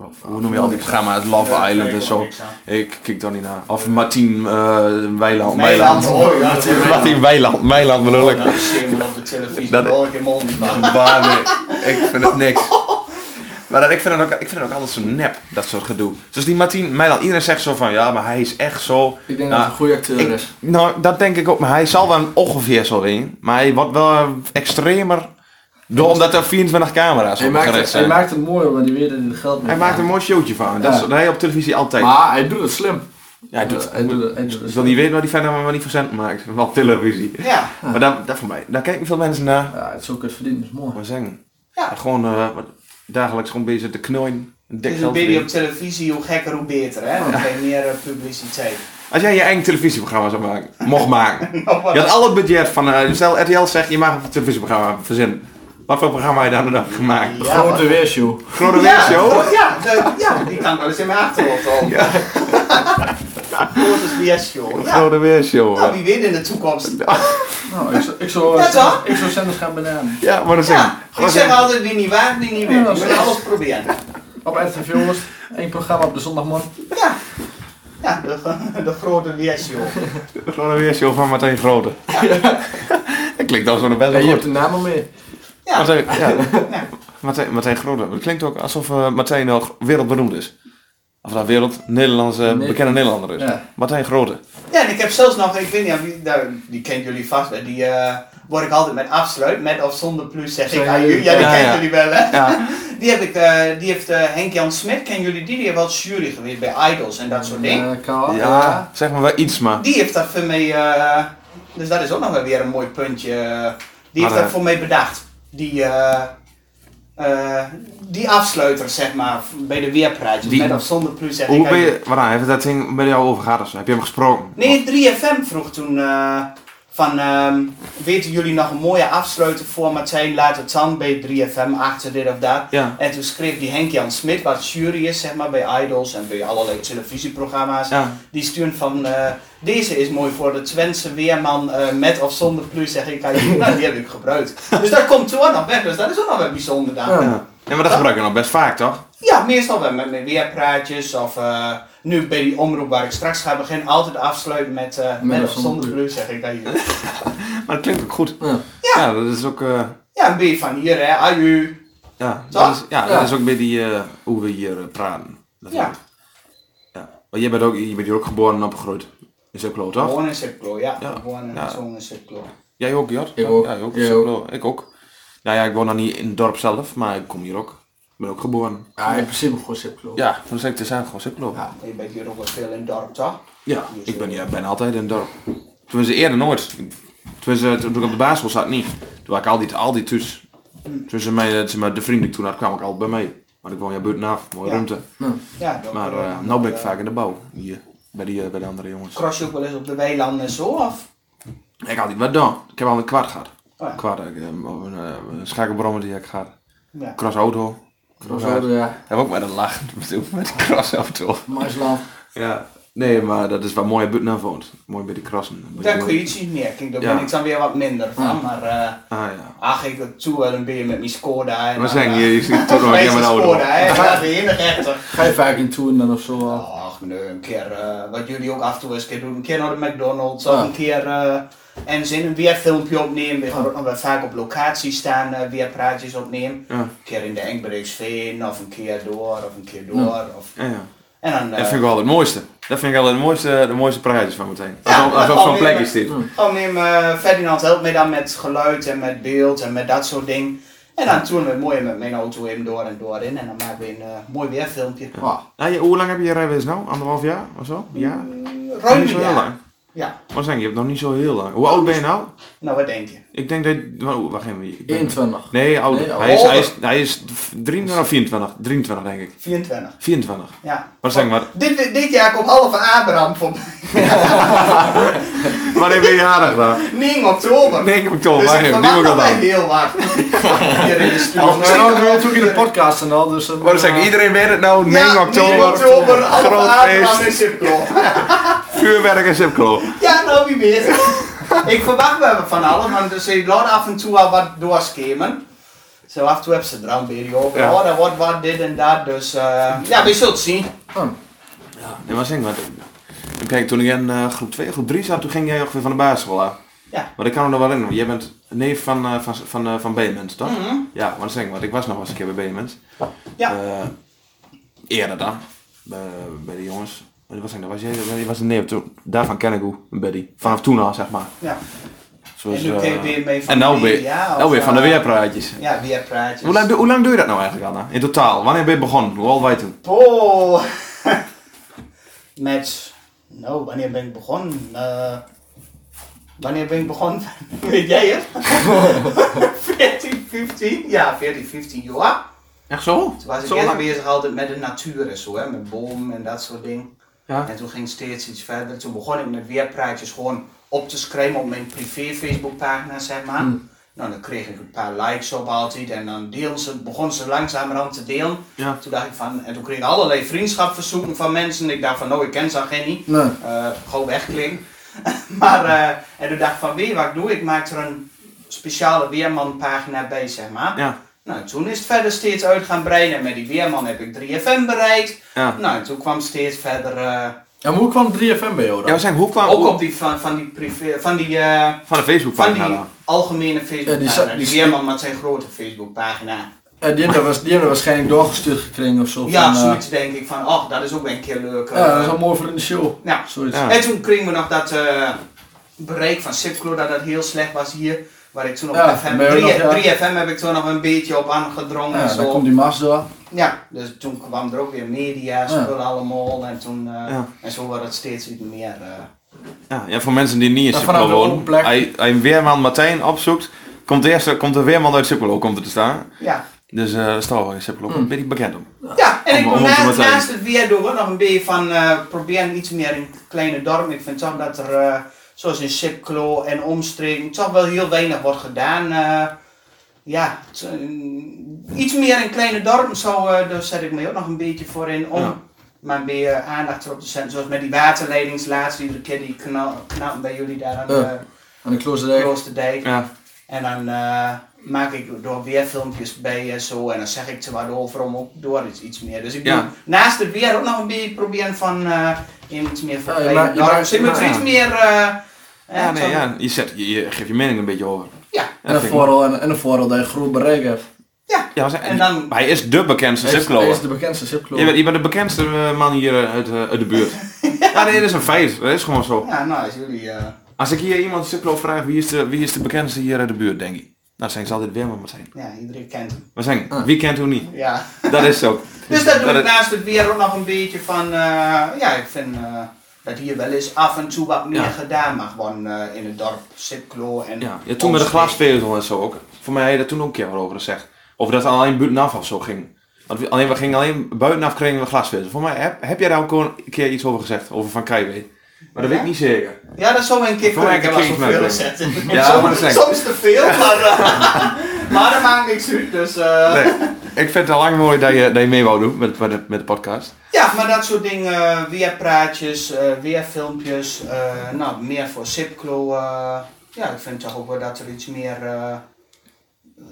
eh, of hoe noem je al die programma's? Love Ja, Island en daar zo. kijk ik ook niks aan. Ik kijk daar niet naar. Of Martien eh Weiland. Nederland, hoor. (laughs) ja, dat is- Martien Weiland. Weiland bedoel ik. Nou, dat zie je wel op de televisie, Dat- dat hoor ik in mijn mond. Maar Maar nee, ik vind het niks. Maar dat, ik, vind het ook, ik vind het ook altijd zo nep, dat soort gedoe. Dus die Martin Meiland, iedereen zegt zo van, ja, maar hij is echt zo. Ik denk dat Nou, het een goede acteur ik- is. Nou, dat denk ik ook, maar hij zal wel ongeveer zo in. Maar hij wordt wel eh, extremer, door, omdat er 24 camera's Hij op maakt, gericht het, zijn. hij maakt het mooi, want hij weet dat hij er geld mee Hij maakt een verdient. mooi showtje van, dat Ja. is dat hij op televisie altijd. Maar hij doet het slim. Eh, ja, hij doet, hij doet het, hij doet het ik wil niet weten waar die verder maar niet voor cent maakt, wel televisie. Ja, Maar daar, daar voor mij, daar kijken veel mensen naar. Ja, het is ook het verdienen, is mooi. Maar zeggen, Ja. ja. gewoon eh, dagelijks gewoon bezig te knooien. het is een beetje op televisie, hoe gekker hoe beter hè. Dan krijg je meer eh, publiciteit. Als jij je eigen televisieprogramma zou (laughs) maken, mocht maken. Nou, wat- Je had al het budget van, eh, stel RTL zegt je mag een televisieprogramma verzinnen. Wat voor programma heb je dan dan gemaakt? Ja, Grote maar- weershow. Grote ja, Weershow? Ja, de- ja, die kan ik wel eens in mijn achterhoofd al. Ja. (laughs) Grote weershow. Ja. Grote Weershow. Nou, eh. wie weet in de toekomst. Nou, ik zou, ik zou, Ja, toch? ik zou zenders gaan benaderen. Ja, maar dan zeg Ja, ik zeg altijd wie niet waar, wie niet weet. Je moet alles proberen. Op RTV Oost, één programma op de zondagmorgen. Ja, ja de, (laughs) de grote weershow. Grote Weershow van Martijn Grote. (laughs) dat klinkt dan zo'n best Ja, wel je goed. hebt de naam al mee. Ja, Martijn, ja. ja. Martijn, Martijn Grote. Dat klinkt ook alsof eh Martijn al wereldberoemd is. Of dat wereld Nederlandse, Nee. bekende Nederlander is. Ja. Martijn Grote. ja, en ik heb zelfs nog, ik weet niet, of wie, nou, die kent jullie vast, hè, die eh, word ik altijd met afsluit, met of zonder plus zeg ik Zijn aan jullie. jullie- Ja, die Ja, kennen ja. jullie wel hè. Ja. Die, heb ik, eh, die heeft eh, Henk-Jan Smit, kennen jullie die? Die heeft wel jury geweest bij Idols en dat soort dingen. Oh, Ja, Eh, Kaal. ja, zeg maar wel iets maar. Die heeft dat voor mij, eh, dus dat is ook nog wel weer een mooi puntje. eh, Die heeft Maar, dat eh, voor mij bedacht. Die, eh, eh, die afsluiter, zeg maar, bij de weerpraatjes. Die- met of zonder plus. Zeg Hoe ik ben je, waaraan heeft dat ding met jou overgegaan of zo? Heb je hem gesproken? Nee, 3FM vroeg toen eh, Van, ehm, weten jullie nog een mooie afsluiter voor Martijn? Laat het dan bij 3FM achter dit of dat. Ja. En toen schreef die Henk-Jan Smit, wat jury is zeg maar, bij Idols en bij allerlei televisieprogramma's. Ja. Die stuurt van, eh, deze is mooi voor de Twentse weerman eh, met of zonder plus. Zeg (laughs) ik, "Ah, nou, die heb ik gebruikt. Dus dat komt toen nog weg, dus dat is ook nog wat bijzonder dan. Ja. Ja. Ja, maar dat gebruik je nog best vaak, toch? Ja, meestal wel met mijn weerpraatjes of eh, nu bij die omroep waar ik straks ga beginnen, altijd afsluiten met eh met of zonder kleur, zeg ik dat hier. Maar het klinkt ook goed. Ja. Ja, dat is ook... eh, Ja, een beetje van hier hè, aju. ja, Toch? dat is, ja, Ja. dat is ook bij die... eh, hoe we hier eh, praten. Dat Ja. is- ja. Maar jij bent, ook, je bent hier ook geboren en opgegroeid. Is ook kloot, toch? Gewoon een cirkel, ja. Ja. Gewoon een Ja. zo'n cirkel. Jij ook, Jor? Ik ook. Ja, jij ook. Jij Is ook. ook kloot. Ik ook. Nou ja, ik woon dan niet in het dorp zelf, maar ik kom hier ook. Ik ben ook geboren. Ja, in principe gewoon zipkloof. Ja, van de te zijn gewoon Ziplo. Ja. Je bent hier ook wel veel in het dorp, toch? Ja, Dus, ik eh, ben ja, bijna altijd in het dorp. Tenminste, eerder nooit. Tenminste, eh, toen ik op de basisschool zat, niet. Toen had ik al die, al die thuis. Tussen mij, eh, zeg maar, de vrienden die ik toen had, kwam ik altijd bij mij. Maar ik woon ja buitenaf, mooie Ja. ruimte. Ja, dat Maar wel. eh nou ben ik Eh, vaak in de bouw, hier. Bij, die, eh, bij de andere jongens. Cross je ook wel eens op de weilanden en zo, of? Ik had niet wat dan. Ik heb al een kwart gehad. Oh ja. Kwart, ik, eh, een, eh, een schakelbrommer die heb ik gehad. Ja. Crossauto. Crossauto, ja. Heb ook met een lach (laughs) met de crossauto. Maisland. Ja. Nee, maar dat is waar mooie buitenaf woont. Mooi bij die crossen. Daar kun je iets niet meer, kijk, daar Ja. ben ik dan weer wat minder van, maar eh Ah ja. ach, ik doe wel een beetje met mijn Skoda. en We dan, eh, zijn hier, je ziet toch nog helemaal Skoda, ouder. hè? Ja, de enige echte. Ga je vaak in toeren dan of zo al? Ach nee, een keer eh, wat jullie ook af en toe eens een keer doen. Een keer naar de McDonald's of Ah. een keer eh, en zin een weerfilmpje opnemen. We gaan ook nog wel vaak op locatie staan, eh weerpraatjes opnemen. Ja. Een keer in de Engbreeksveen of een keer door of een keer door. Of, Ja, ja. en dan Dat eh Hmm. vind ik wel het mooiste. Dat vind ik wel het mooiste, de mooiste praatjes van meteen. Ja, als als dat ook zo'n kan plek weer. is dit. oh, neem, eh, Ferdinand helpt mij dan met geluid en met beeld en met dat soort dingen. En dan toeren we mooi met mijn auto in door en door in en dan maken we een eh, mooi weerfilmpje. Ah, Ja, je- hoe lang heb je je rijbewijs nou? Anderhalf jaar of zo? Ja? Ruim niet zo heel een jaar. lang. Ja, Wat zeg je? Je hebt nog niet zo heel lang. Hoe oud ben je nou? nou wat denk je? Ik denk dat... wa- Wacht even. ik ben- 21. Nee, ouder. Nee, hij, is, hij, is, ouder. hij is 23 of 24. 23 denk ik. 24. 24. Ja. Wat zeg maar. Dit, dit jaar komt halve Abraham (laughs) voor Wanneer ben je jarig dan? 9 oktober. Nee, ik toch. dus Wacht ik even. Die moet ik al verwacht dat wij dan. heel wat. (laughs) Hier in de studio. Nou, nou, nou, natuurlijk in de podcast en al, dus... Wat zeg ik? Iedereen weet het nou. 9 Ja, oktober. 9 oktober, halve Groot Abraham feest. is in Klop. Vuurwerk en zipklo. Ja, nou wie weet. (laughs) ik verwacht wel van alles, want dus ik laat af en toe al wat doorschemen. Zo af en toe heb ze er al een beetje over. Ja. Oh, dat wordt wat, dit en dat. Dus eh, ja, we zullen het zien. Oh, En wat zeg ik? Want, eh, Kijk, toen ik in eh, groep 2, groep 3 zat, toen ging jij ongeveer van de basisschool af. Ja. Maar ik kan me nog wel herinneren, want jij bent neef van, eh, van, van, eh, van Beemens, toch? Ja, wat zeg ik? Want ik was nog wel eens een keer bij Beemens. Mhm. Ja. Eh, eerder dan, bij, bij de jongens. Wat was ik nou? Was jij, jij was een neef toen. Daarvan ken ik hoe, een buddy. Vanaf toen al, zeg maar. ja. Zoals, En nu eh, ken je weer mee van En nou de weer, media, nou of, weer van de eh, weerpraatjes. Ja, weer praatjes. Hoe lang, doe- hoe lang doe je dat nou eigenlijk, Anna? In totaal? Wanneer ben je begonnen? Hoe oud wij toen? Oh, (laughs) met, nou, wanneer ben ik begonnen? Eh, wanneer ben ik begonnen? (laughs) Weet (laughs) jij het? 14, 15? Ja, 14, 15 jaar. Echt zo? Toen was ik Zo eerst lang? bezig altijd met de natuur en zo, hè, met bomen en dat soort dingen. Ja. En toen ging het steeds iets verder. Toen begon ik met weerpraatjes gewoon op te schrijven op mijn privé Facebookpagina, zeg maar. Hmm. Nou, dan kreeg ik een paar likes op altijd en dan deelden ze, begon ze langzamerhand te delen. Ja. Toen dacht ik van, en toen kreeg ik allerlei vriendschapverzoeken van mensen. Ik dacht van, nou, ik ken ze al geen niet. Nee. Eh, gewoon wegklinken. (laughs) maar, eh, en toen dacht ik van, weet je wat ik doe? Ik maak er een speciale weermanpagina bij, zeg maar. Ja. Nou, toen is het verder steeds uit gaan breiden. En met die weerman heb ik 3FM bereikt. Ja. Nou, en toen kwam steeds verder... eh, En hoe kwam 3FM bij jou Ja, we dan? zijn hoe kwam... ook op die van, van die privé... Van die... eh, Van de van Facebookpagina die dan. algemene Facebookpagina. die die, zat- die- weerman met zijn grote Facebookpagina. Eh, die hebben was- die hebben waarschijnlijk doorgestuurd gekregen of zo. Ja, van, eh, zoiets denk ik van, ach, dat is ook wel een keer leuk. eh. Ja, dat is wel mooi voor in de show. Ja. Zoiets. Ja. En toen kregen we nog dat eh, bereik van Sipclo dat dat heel slecht was hier. Waar ik toen op Ja, FM, ben je 3, nog, ja. 3FM heb ik toen nog een beetje op aangedrongen en Ja, zo. dan komt die Mars door. Ja, dus toen kwam er ook weer media, spullen allemaal en toen... eh, Ja. En zo werd het steeds iets meer... eh, Ja, ja, voor mensen die niet in Maar Sipolo vanaf de open wonen. plek. Hij, hij een weerman Martijn opzoekt. Komt de, eerste, komt de weerman uit Sipolo komt er te staan. ja. Dus eh stel wel in Sipolo. Ben ik bekend om. Ja, en ik Om- om doe het naast, te zijn. naast het weer doen we nog een beetje van eh proberen iets meer in kleine dorpen. Ik vind toch dat er eh, zoals in Sipklo en omstreken, toch wel heel weinig wordt gedaan. eh, ja, t- iets meer in kleine dorpen zou, eh, daar zet ik me ook nog een beetje voor in om Ja. maar meer aandacht erop te zetten. Zoals met die waterleidingslaatst die we een keer die knal, knal bij jullie daar aan de Aan de kloosterdijk. Kloosterdijk. Ja. En dan eh, maak ik door weer filmpjes bij en zo. En dan zeg ik ze wat over om ook door iets, iets meer. Dus ik Ja. doe naast het weer ook nog een beetje proberen van eh, even iets meer voor Ja, je bij maakt- het je dorp. maakt- Dus ik moet er ja. iets meer... eh, Ja, eh, nee, zo- ja. Je, zet, je, je geeft je mening een beetje over. Ja. En een vind ik wel- voordeel, en, en een voordeel dat je groot bereik hebt. Ja, maar, En dan- maar hij is de bekendste Hij is- Hij zipkloer. is de bekendste zipkloof. Je bent, je bent de bekendste eh, man hier eh, uit, eh, uit de buurt. ja, nee, dat is een feit. Dat is gewoon zo. Ja, nou, als jullie... eh, Als ik hier iemand zipkloer vraag, wie is, de, wie is de bekendste hier uit de buurt, denk ik. Nou, zijn ze altijd weer maar zijn. ja, iedereen kent hem. Maar zijn, Ah. wie kent hoe niet? Ja. Dat is zo. (laughs) Dus dat doe ik is- naast het weer ook nog een beetje van... eh, ja, ik vind eh, dat hier wel eens af en toe wat meer Ja. gedaan mag worden eh, in het dorp. Sipklo en... Ja, ja, toen met de glasvezel en zo ook. Voor mij had je daar toen ook een keer over gezegd. Of dat alleen buitenaf of zo ging. Want we, alleen, we gingen alleen buitenaf kregen we glasvezel. Voor mij heb, heb jij daar ook gewoon een keer iets over gezegd, over Van Keiwee. Maar dat weet ik niet zeker. Ja, dat zou een keer Voor mij kunnen. Ik een heb keer wel iets zoveel mee zetten. Ja, maar dat soms, zeg ik. soms te veel, maar, eh, (laughs) maar dat maakt niks uit. Dus, eh, Nee, ik vind het al lang mooi dat je, dat je mee wou doen met, met, de, met de podcast. Ja, maar dat soort dingen. eh, weer praatjes, eh, weer filmpjes. eh, nou, meer voor Sipklo. eh, ja, ik vind toch ook wel dat er iets meer eh,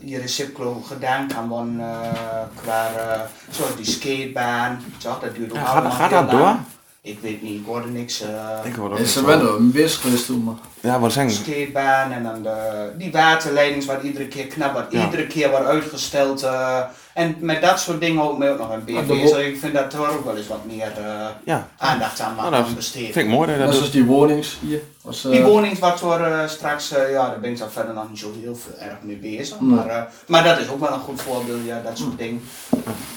hier in Sipklo gedaan kan worden. eh, qua eh, zoals die skatebaan. Toch, dat duurt ook Ja, allemaal gaat, gaat heel dat lang. door? Ik weet niet, ik hoorde niks. eh, Ik hoor dat Is niet. ze wel een bezig geweest toen, maar. Ja, wat zijn ze? skatebaan en dan de, die waterleidings waar iedere keer knap wordt, Ja. iedere keer wordt uitgesteld. eh, en met dat soort dingen ook mee ook nog een beetje Maar de bezig. wo- Ik vind dat er ook wel eens wat meer eh, Ja, aandacht aan mag Nou, dat worden vind besteed. ik mooi dat je Dat dat is doet. dus die wonings hier. Was, eh, Die woningsfactor eh, straks, eh, ja, daar ben ik dan verder nog niet zo heel veel erg mee bezig. Nee. Maar, eh, maar dat is ook wel een goed voorbeeld, ja, dat soort dingen.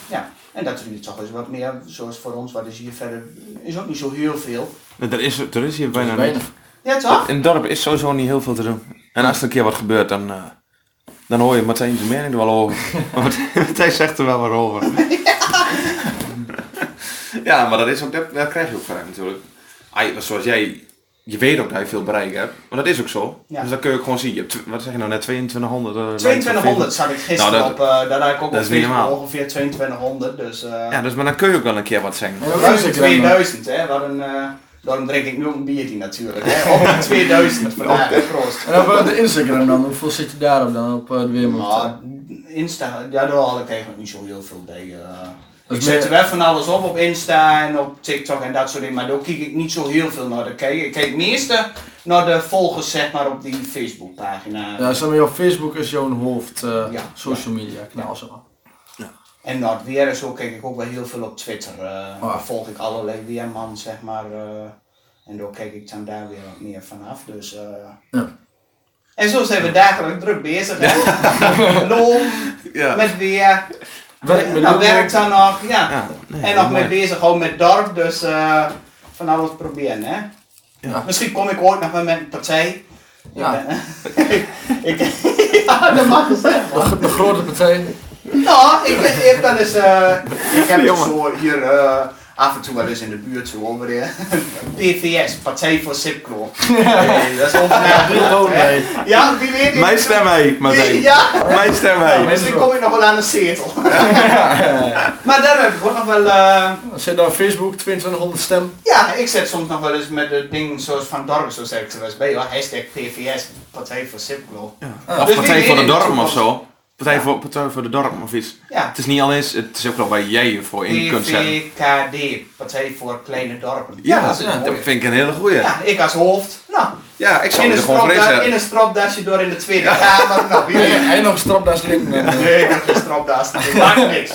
Ja, en dat er hier toch eens wat meer, zoals voor ons, wat is hier verder, is ook niet zo heel veel. Er is, er is hier was bijna bijna. niet. Ja, toch? In het dorp is sowieso niet heel veel te doen. En als er een keer wat gebeurt, dan, eh, dan hoor je Martijn zijn mening er wel (laughs) over. Maar Martijn- Martijn zegt er wel wat over. (laughs) ja, maar dat, is ook, dat, dat krijg je ook vaak natuurlijk. Ai, zoals jij, je weet ook dat je veel bereik hebt. Maar dat is ook zo. Ja. Dus dat kun je ook gewoon zien. Je hebt, tw- wat zeg je nou net, 2200? eh, likes op 2200 Facebook. zat ik gisteren Nou, dat- op, eh, daar had ik ook dat op is niet Facebook normaal. ongeveer 2200, dus... eh, Ja, dus, maar dan kun je ook wel een keer wat zeggen. Ja, dat Ruim is de ik dan, maar. 2000, hè? Wat een, eh, daarom drink ik nu ook een biertje natuurlijk. Hè? Op (laughs) de 2000 vandaag, hè, proost. En op eh, de Instagram dan, hoeveel zit je daarop dan? Op eh, de Weerman? Maar Insta, ja, daar haal ik eigenlijk niet zo heel veel bij. eh. Dat Ik is zet er meer- wel van alles op op Insta en op TikTok en dat soort dingen, maar daar kijk ik niet zo heel veel naar. de kijk, ik kijk meeste naar de volgers, zeg maar, op die Facebookpagina. Ja, zeg maar, jouw Facebook is jouw hoofd eh, Ja. social media kanaal, zeg maar. En naar het weer en zo kijk ik ook wel heel veel op Twitter. eh. Ah. Daar volg ik allerlei weerman, zeg maar. eh, en daar kijk ik dan daar weer wat meer vanaf. Dus, eh, Ja. En zo zijn we dagelijks druk bezig. hè. Lol, Ja. met weer. Werk met nou, ook werkt dan nog. Ja. Ja, nee, en nog mooi. mee bezig ook met dorp. Dus eh, van alles proberen. Hè. Ja. Misschien kom ik ooit nog wel met een partij. Ja. (laughs) ik, ja, dat mag gezegd worden. De, de grote partij. Nou, ik, ben- ik ben eens. eh, ik heb (laughs) Jongen. zo hier eh, af en toe wel eens in de buurt zo over (laughs) de PVS, Partij voor Sipkro. Nee, dat is ongeveer. nee. Ja, wie weet. ik- Mijn stem heet, Martijn. Ja, Mijn stem nou, heet. misschien kom ik nog wel aan een (laughs) zetel. maar daar heb ik ook nog wel. eh, Zit daar op Facebook, 2200 stem. ja, ik zet soms nog wel eens met de ding zoals van Dorp, zo zeg ik er wel eens bij. hoor. Hashtag PVS, Partij voor Sipkro. Of Partij Dus wie voor de weet in de Dorm of toekomst. zo. Partij voor, partij voor de Dorm of iets. Ja. Het is niet alleen, het is ook wel waar jij je voor in kunt zetten. PVKD, Partij voor Kleine Dorpen. Ja, dat dat, is een mooie. vind ik een hele goeie. Ja, Ja, ik als hoofd. Nou, ik zou in er een, gewoon voor stropda- in inzetten. een stropdasje door in de Tweede Kamer. Nou, wie weet. En nog een strap daar slim. Nee, ik heb geen stropdas. Dat maakt niks.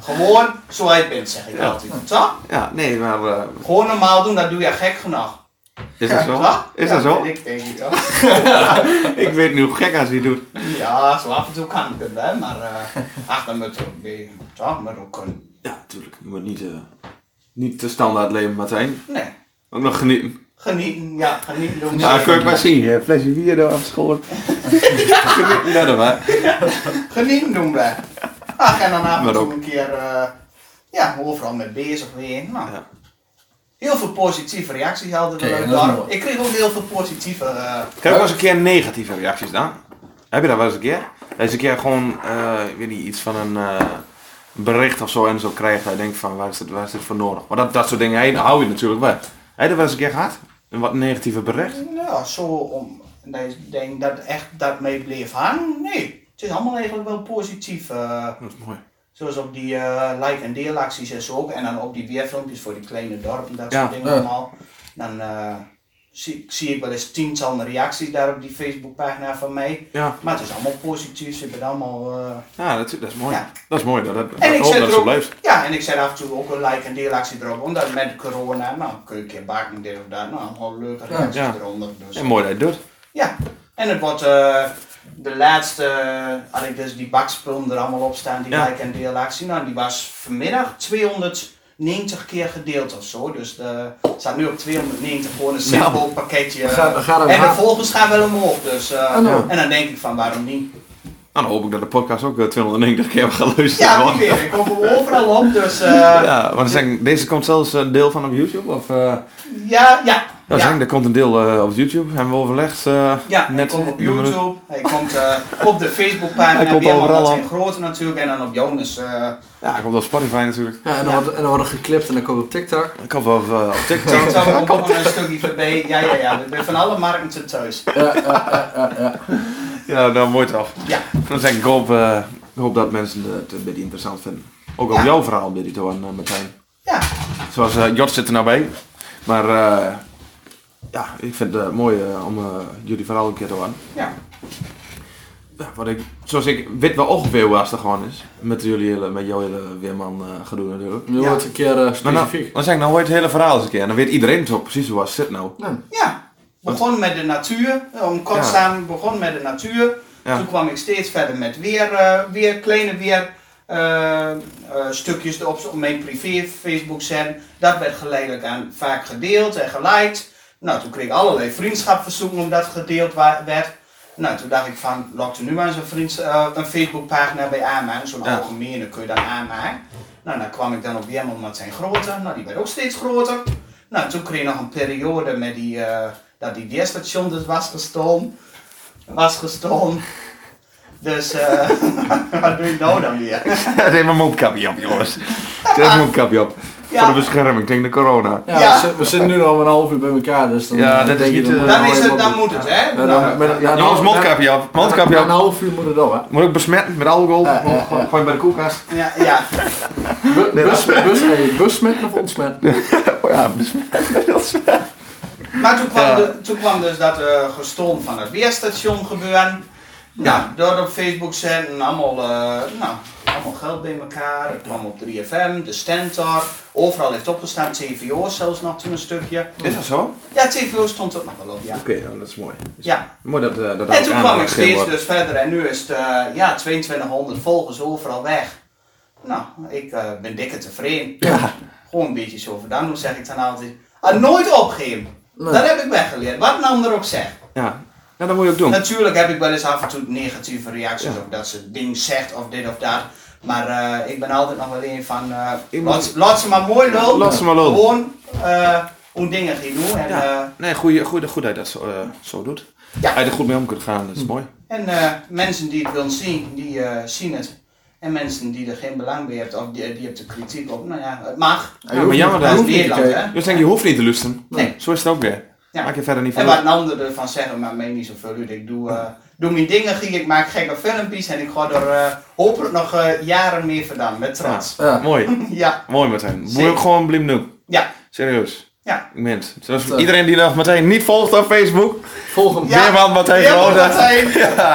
Gewoon zoals je bent, zeg ik Ja. altijd. Zo? Ja, nee, maar eh, Gewoon normaal doen, dat doe je gek genoeg. is dat zo? Zo? Is Ja, dat zo? vind Ik denk het, ja. Ik weet nu hoe gek als hij doet. Ja, zo af en toe kan ik het wel, maar eh ach, dan moet je ook weer, toch? Moet ook kunnen. Ja, natuurlijk. Je moet niet, eh, niet te standaard leven, Martijn. Nee, Ook nog genieten. genieten, ja, genieten doen. Ja, kun je het maar zien. hè. flesje bier daar afgeschoren. (laughs) Genieten dat hem, hè. Genieten doen we. Ach, en dan af en Maar toe ook. een keer, eh, ja, overal mee bezig weer. Nou, Ja. heel veel positieve reacties hadden we Oké, uit dat is dorp. mooi. Ik kreeg ook heel veel positieve. eh, Krijg je wel eens een keer negatieve reacties dan? Heb je dat wel eens een keer? Dat je eens een keer gewoon, eh, ik weet niet, iets van een eh, bericht of zo en zo krijgt. Dat je denkt van, waar is dit, waar is dit voor nodig? Maar dat, dat soort dingen, hey, dan hou je natuurlijk wel. Heb je dat wel eens een keer gehad? Een wat negatieve bericht? nou, zo om. Dat ik denk dat echt dat mee bleef hangen. Nee, het is allemaal eigenlijk wel positief. eh, Dat is mooi. zoals op die eh, like- en deelacties en zo ook. En dan op die weerfilmpjes voor die kleine dorpen, dat Ja, soort dingen ja. allemaal. Dan eh, zie, zie ik wel eens tientallen reacties daar op die Facebookpagina van mij. Ja, Maar het is allemaal positief, ze hebben allemaal... eh, ja dat, dat is mooi. Ja. Dat is mooi, dat, dat, En ik ik hoop dat zet het er zo ook, blijft. ja, en ik zet af en toe ook een like- en deelactie erop. Omdat met corona, nou, kun je een keer bakken, dit of dat. Nou, allemaal leuke Ja, reacties ja. eronder. Dus. En mooi dat je het doet. Ja, en het wordt eh, de laatste, eh, had ik dus die bakspullen er allemaal op staan, die Ja. like- en deelactie. Nou, die was vanmiddag 290 keer gedeeld of zo. Dus de, het staat nu op 290 gewoon een simpel pakketje. We gaan- we gaan hem en de halen. volgers gaan wel omhoog. Dus, eh, Ah, nou. En dan denk ik van waarom niet? Nou, dan hoop ik dat de podcast ook eh, 290 keer hebben geluisterd. Ja, wordt. wie weet, ik kom er overal op. Dus eh, Ja, want dan zeg ik, deze komt zelfs een deel van op YouTube? Of, eh, ja, ja. ja, ja. zeg ik, er komt een deel eh, op YouTube. Hebben we overlegd? eh, Ja, hij net komt op nummer- YouTube, hij komt eh, op de Hij Facebookpagina, komt overal Weerman op. en Grote natuurlijk, en dan op (laughs) Jonas. eh, Ja, hij komt op Spotify natuurlijk. Ja, en dan, Wordt, en dan wordt er geklipt en dan komt op TikTok. Ik had wel eh, op TikTok. Ik zou ook nog een stukje voorbij. Ja, ja, ja. Ik ben van alle markten thuis. Ja, ja, ja, ja, (laughs) ja. Ja, dan wordt het af. Ja. Dan zeg ik, ik hoop, eh, ik hoop dat mensen het eh, een beetje interessant vinden. Ook op Ja. jouw verhaal, Biddy, en eh, Martijn. Ja, Zoals eh, Jort zit er nou bij. Maar eh, ja, ik vind het eh, mooi eh, om eh, jullie verhaal een keer te horen. ja. Ja, wat ik, zoals ik weet wel ongeveer waar het er gewoon is. Met jullie hele, met jouw hele weerman eh gedoe natuurlijk. Nu Ja. wordt een keer eh, Maar nou, specifiek. dan zeg ik, nou hoor je het hele verhaal eens een keer. En dan weet iedereen toch precies waar het zit nou. (laughs) Ja. ja. Begon met de natuur. eh, Om kort Ja. samen begon met de natuur. Ja. Toen kwam ik steeds verder met weer, eh, weer kleine weer. eh, eh, stukjes erop op mijn privé Facebook zijn. Dat werd geleidelijk aan vaak gedeeld en geliked. Nou, toen kreeg ik allerlei vriendschapverzoeken omdat het gedeeld wa- werd. Nou, toen dacht ik van, lok er nu maar eens een, vriends, eh, een Facebookpagina bij aanmaken. Zo'n Ja. algemene kun je dan aanmaken. Nou, dan kwam ik dan op Weerman met zijn groter. Nou, die werd ook steeds groter. Nou, toen kreeg ik nog een periode met die, eh, dat die weerstation dus was gestolen. Was gestolen. Dus, eh, (laughs) wat doe je nou dan weer? Zet even mijn mondkapje op, jongens. (laughs) Zet even mijn mondkapje op. Ja. Voor de bescherming tegen de corona. Ja, Ja. We, zitten, we zitten nu al een half uur bij elkaar, dus dan Ja, eh, dat is denk je, niet, eh, moet Dan, je is wel het, dan even moet het, hè? Ja, dan- Nou, met- ja, Jongens, mondkapje op. op. Mondkapje Na een op. half uur moet het al, hè. Moet ook besmetten met alcohol. Ja, ja, ja. Gewoon- Gooi bij de koelkast. ja, ja. Bu- Bus, bus, hey, busmet of ontsmet? Oh ja, besmet. Maar toen kwam, Ja. de- toen kwam dus dat eh gestolen van het weerstation gebeuren. Nou, door op Facebook zetten en allemaal, eh, nou, allemaal geld bij elkaar. Het kwam op 3FM, de Stentor. Overal heeft opgestaan, TVO zelfs nog toen een stukje. Is dat zo? Ja, TVO stond ook nog wel op, ja. Oké, nou, dat is mooi. ja. Mooi dat eh, dat dat En ook toen aandacht kwam ik gegeven steeds wordt. dus verder en nu is het eh, ja, 2200 volgers overal weg. Nou, ik eh, ben dikke tevreden. Ja. Gewoon een beetje zo verdaan, hoe zeg ik dan altijd. Ah, nooit opgeven. Nee. Dat heb ik weggeleerd, wat een ander ook zegt. Ja. ja, dat moet je ook doen. Natuurlijk heb ik wel eens af en toe negatieve reacties Ja. op dat ze het ding zegt of dit of dat. Maar eh, ik ben altijd nog wel een van. eh, Ik laat, moet- ze- laat ze maar mooi lopen. Laat ze maar lopen. Gewoon eh, hoe dingen gaan doen. En, Ja. eh, Nee, goed, goed, goed dat je dat zo, eh, zo doet. Ja. Ja. Hij er goed mee om kunt gaan, dat is mooi. en eh, mensen die het willen zien, die eh, zien het. En mensen die er geen belang bij hebben of die, die hebben de kritiek op, nou ja, het mag. Ja, maar jammer Dat dat. is hoeft niet te Nederland, kijken. hè? Dus denk je hoeft niet te lusten. Nee. Zo is het ook weer. Ja. Maak je verder niet van. En wat een ander ervan zeggen, maar meen niet zoveel uit. Ik doe, eh, doe mijn dingen, Giel. ik maak gekke filmpjes en ik ga er eh, hopelijk nog eh, jaren meer vandaan, met trots. Ja. Mooi. Ja, Mooi Martijn. Moet je Zeker. ook gewoon blim doen. ja, Serieus. ja. eh? Ik meen het. Zoals Zo. iedereen die nog Martijn niet volgt op Facebook. Volg hem. Ja. Weerman Martijn Weerman Grote. Martijn.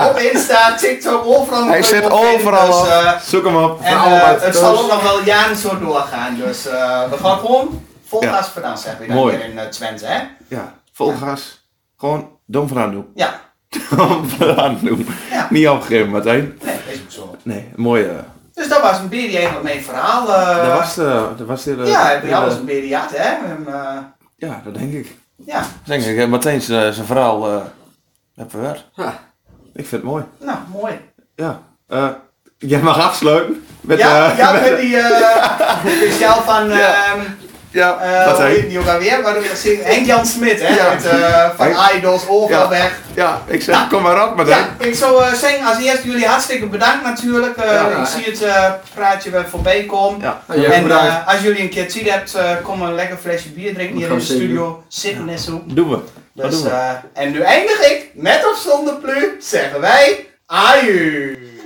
Op Insta, TikTok, overal. Hij op- zit op Facebook, overal dus, eh, op. Zoek hem op. en eh, allemaal het thuis. zal ook nog wel jaren zo doorgaan. Dus eh, we gaan gewoon vol Ja. gas vandaan, zeg ik dan Mooi. hier in eh, Twente, hè? Ja, vol gas. Gewoon dom vooraan doen. Ja, (laughs) Dom vooraan doen. Ja. Niet opgegeven Martijn. nee, is ook zo. Nee, mooi. eh, Dus dat was een beetje eigenlijk mijn verhaal. eh. dat was eh, de... Dat was de hele- ja, heb je hele- alles een beetje gehad, hè? En, eh, Ja, dat denk ik. ja, Dat denk ik. eh, Martijn zijn zijn verhaal eh heb verwerkt. Ja. Ik vind het mooi. nou, mooi. Ja. eh, jij mag afsluiten. Met, (laughs) Ja, eh, ja met- met die eh, speciaal van... Ja. ehm, Ja, Eh dat hoe heet hij. die ook alweer? Maar dat was Henk-Jan Smit, hè? Ja. Met, eh, van Idols, overal Ja. weg. Ja, ik zeg, kom maar op, maar dan. Ja, ik zou eh, zeggen, als eerst jullie hartstikke bedankt natuurlijk. Eh, Ja, ja. Ik zie het eh, praatje weer voorbij komen. Ja. Nou, jij en bedankt. eh, als jullie een keer tijd hebt, eh, kom een lekker flesje bier drinken hier gaan in de we zeker studio. Zitten en zo. Doen we. Dat Dus, doen we. eh, en nu eindig ik, met of zonder plu, zeggen wij, aju.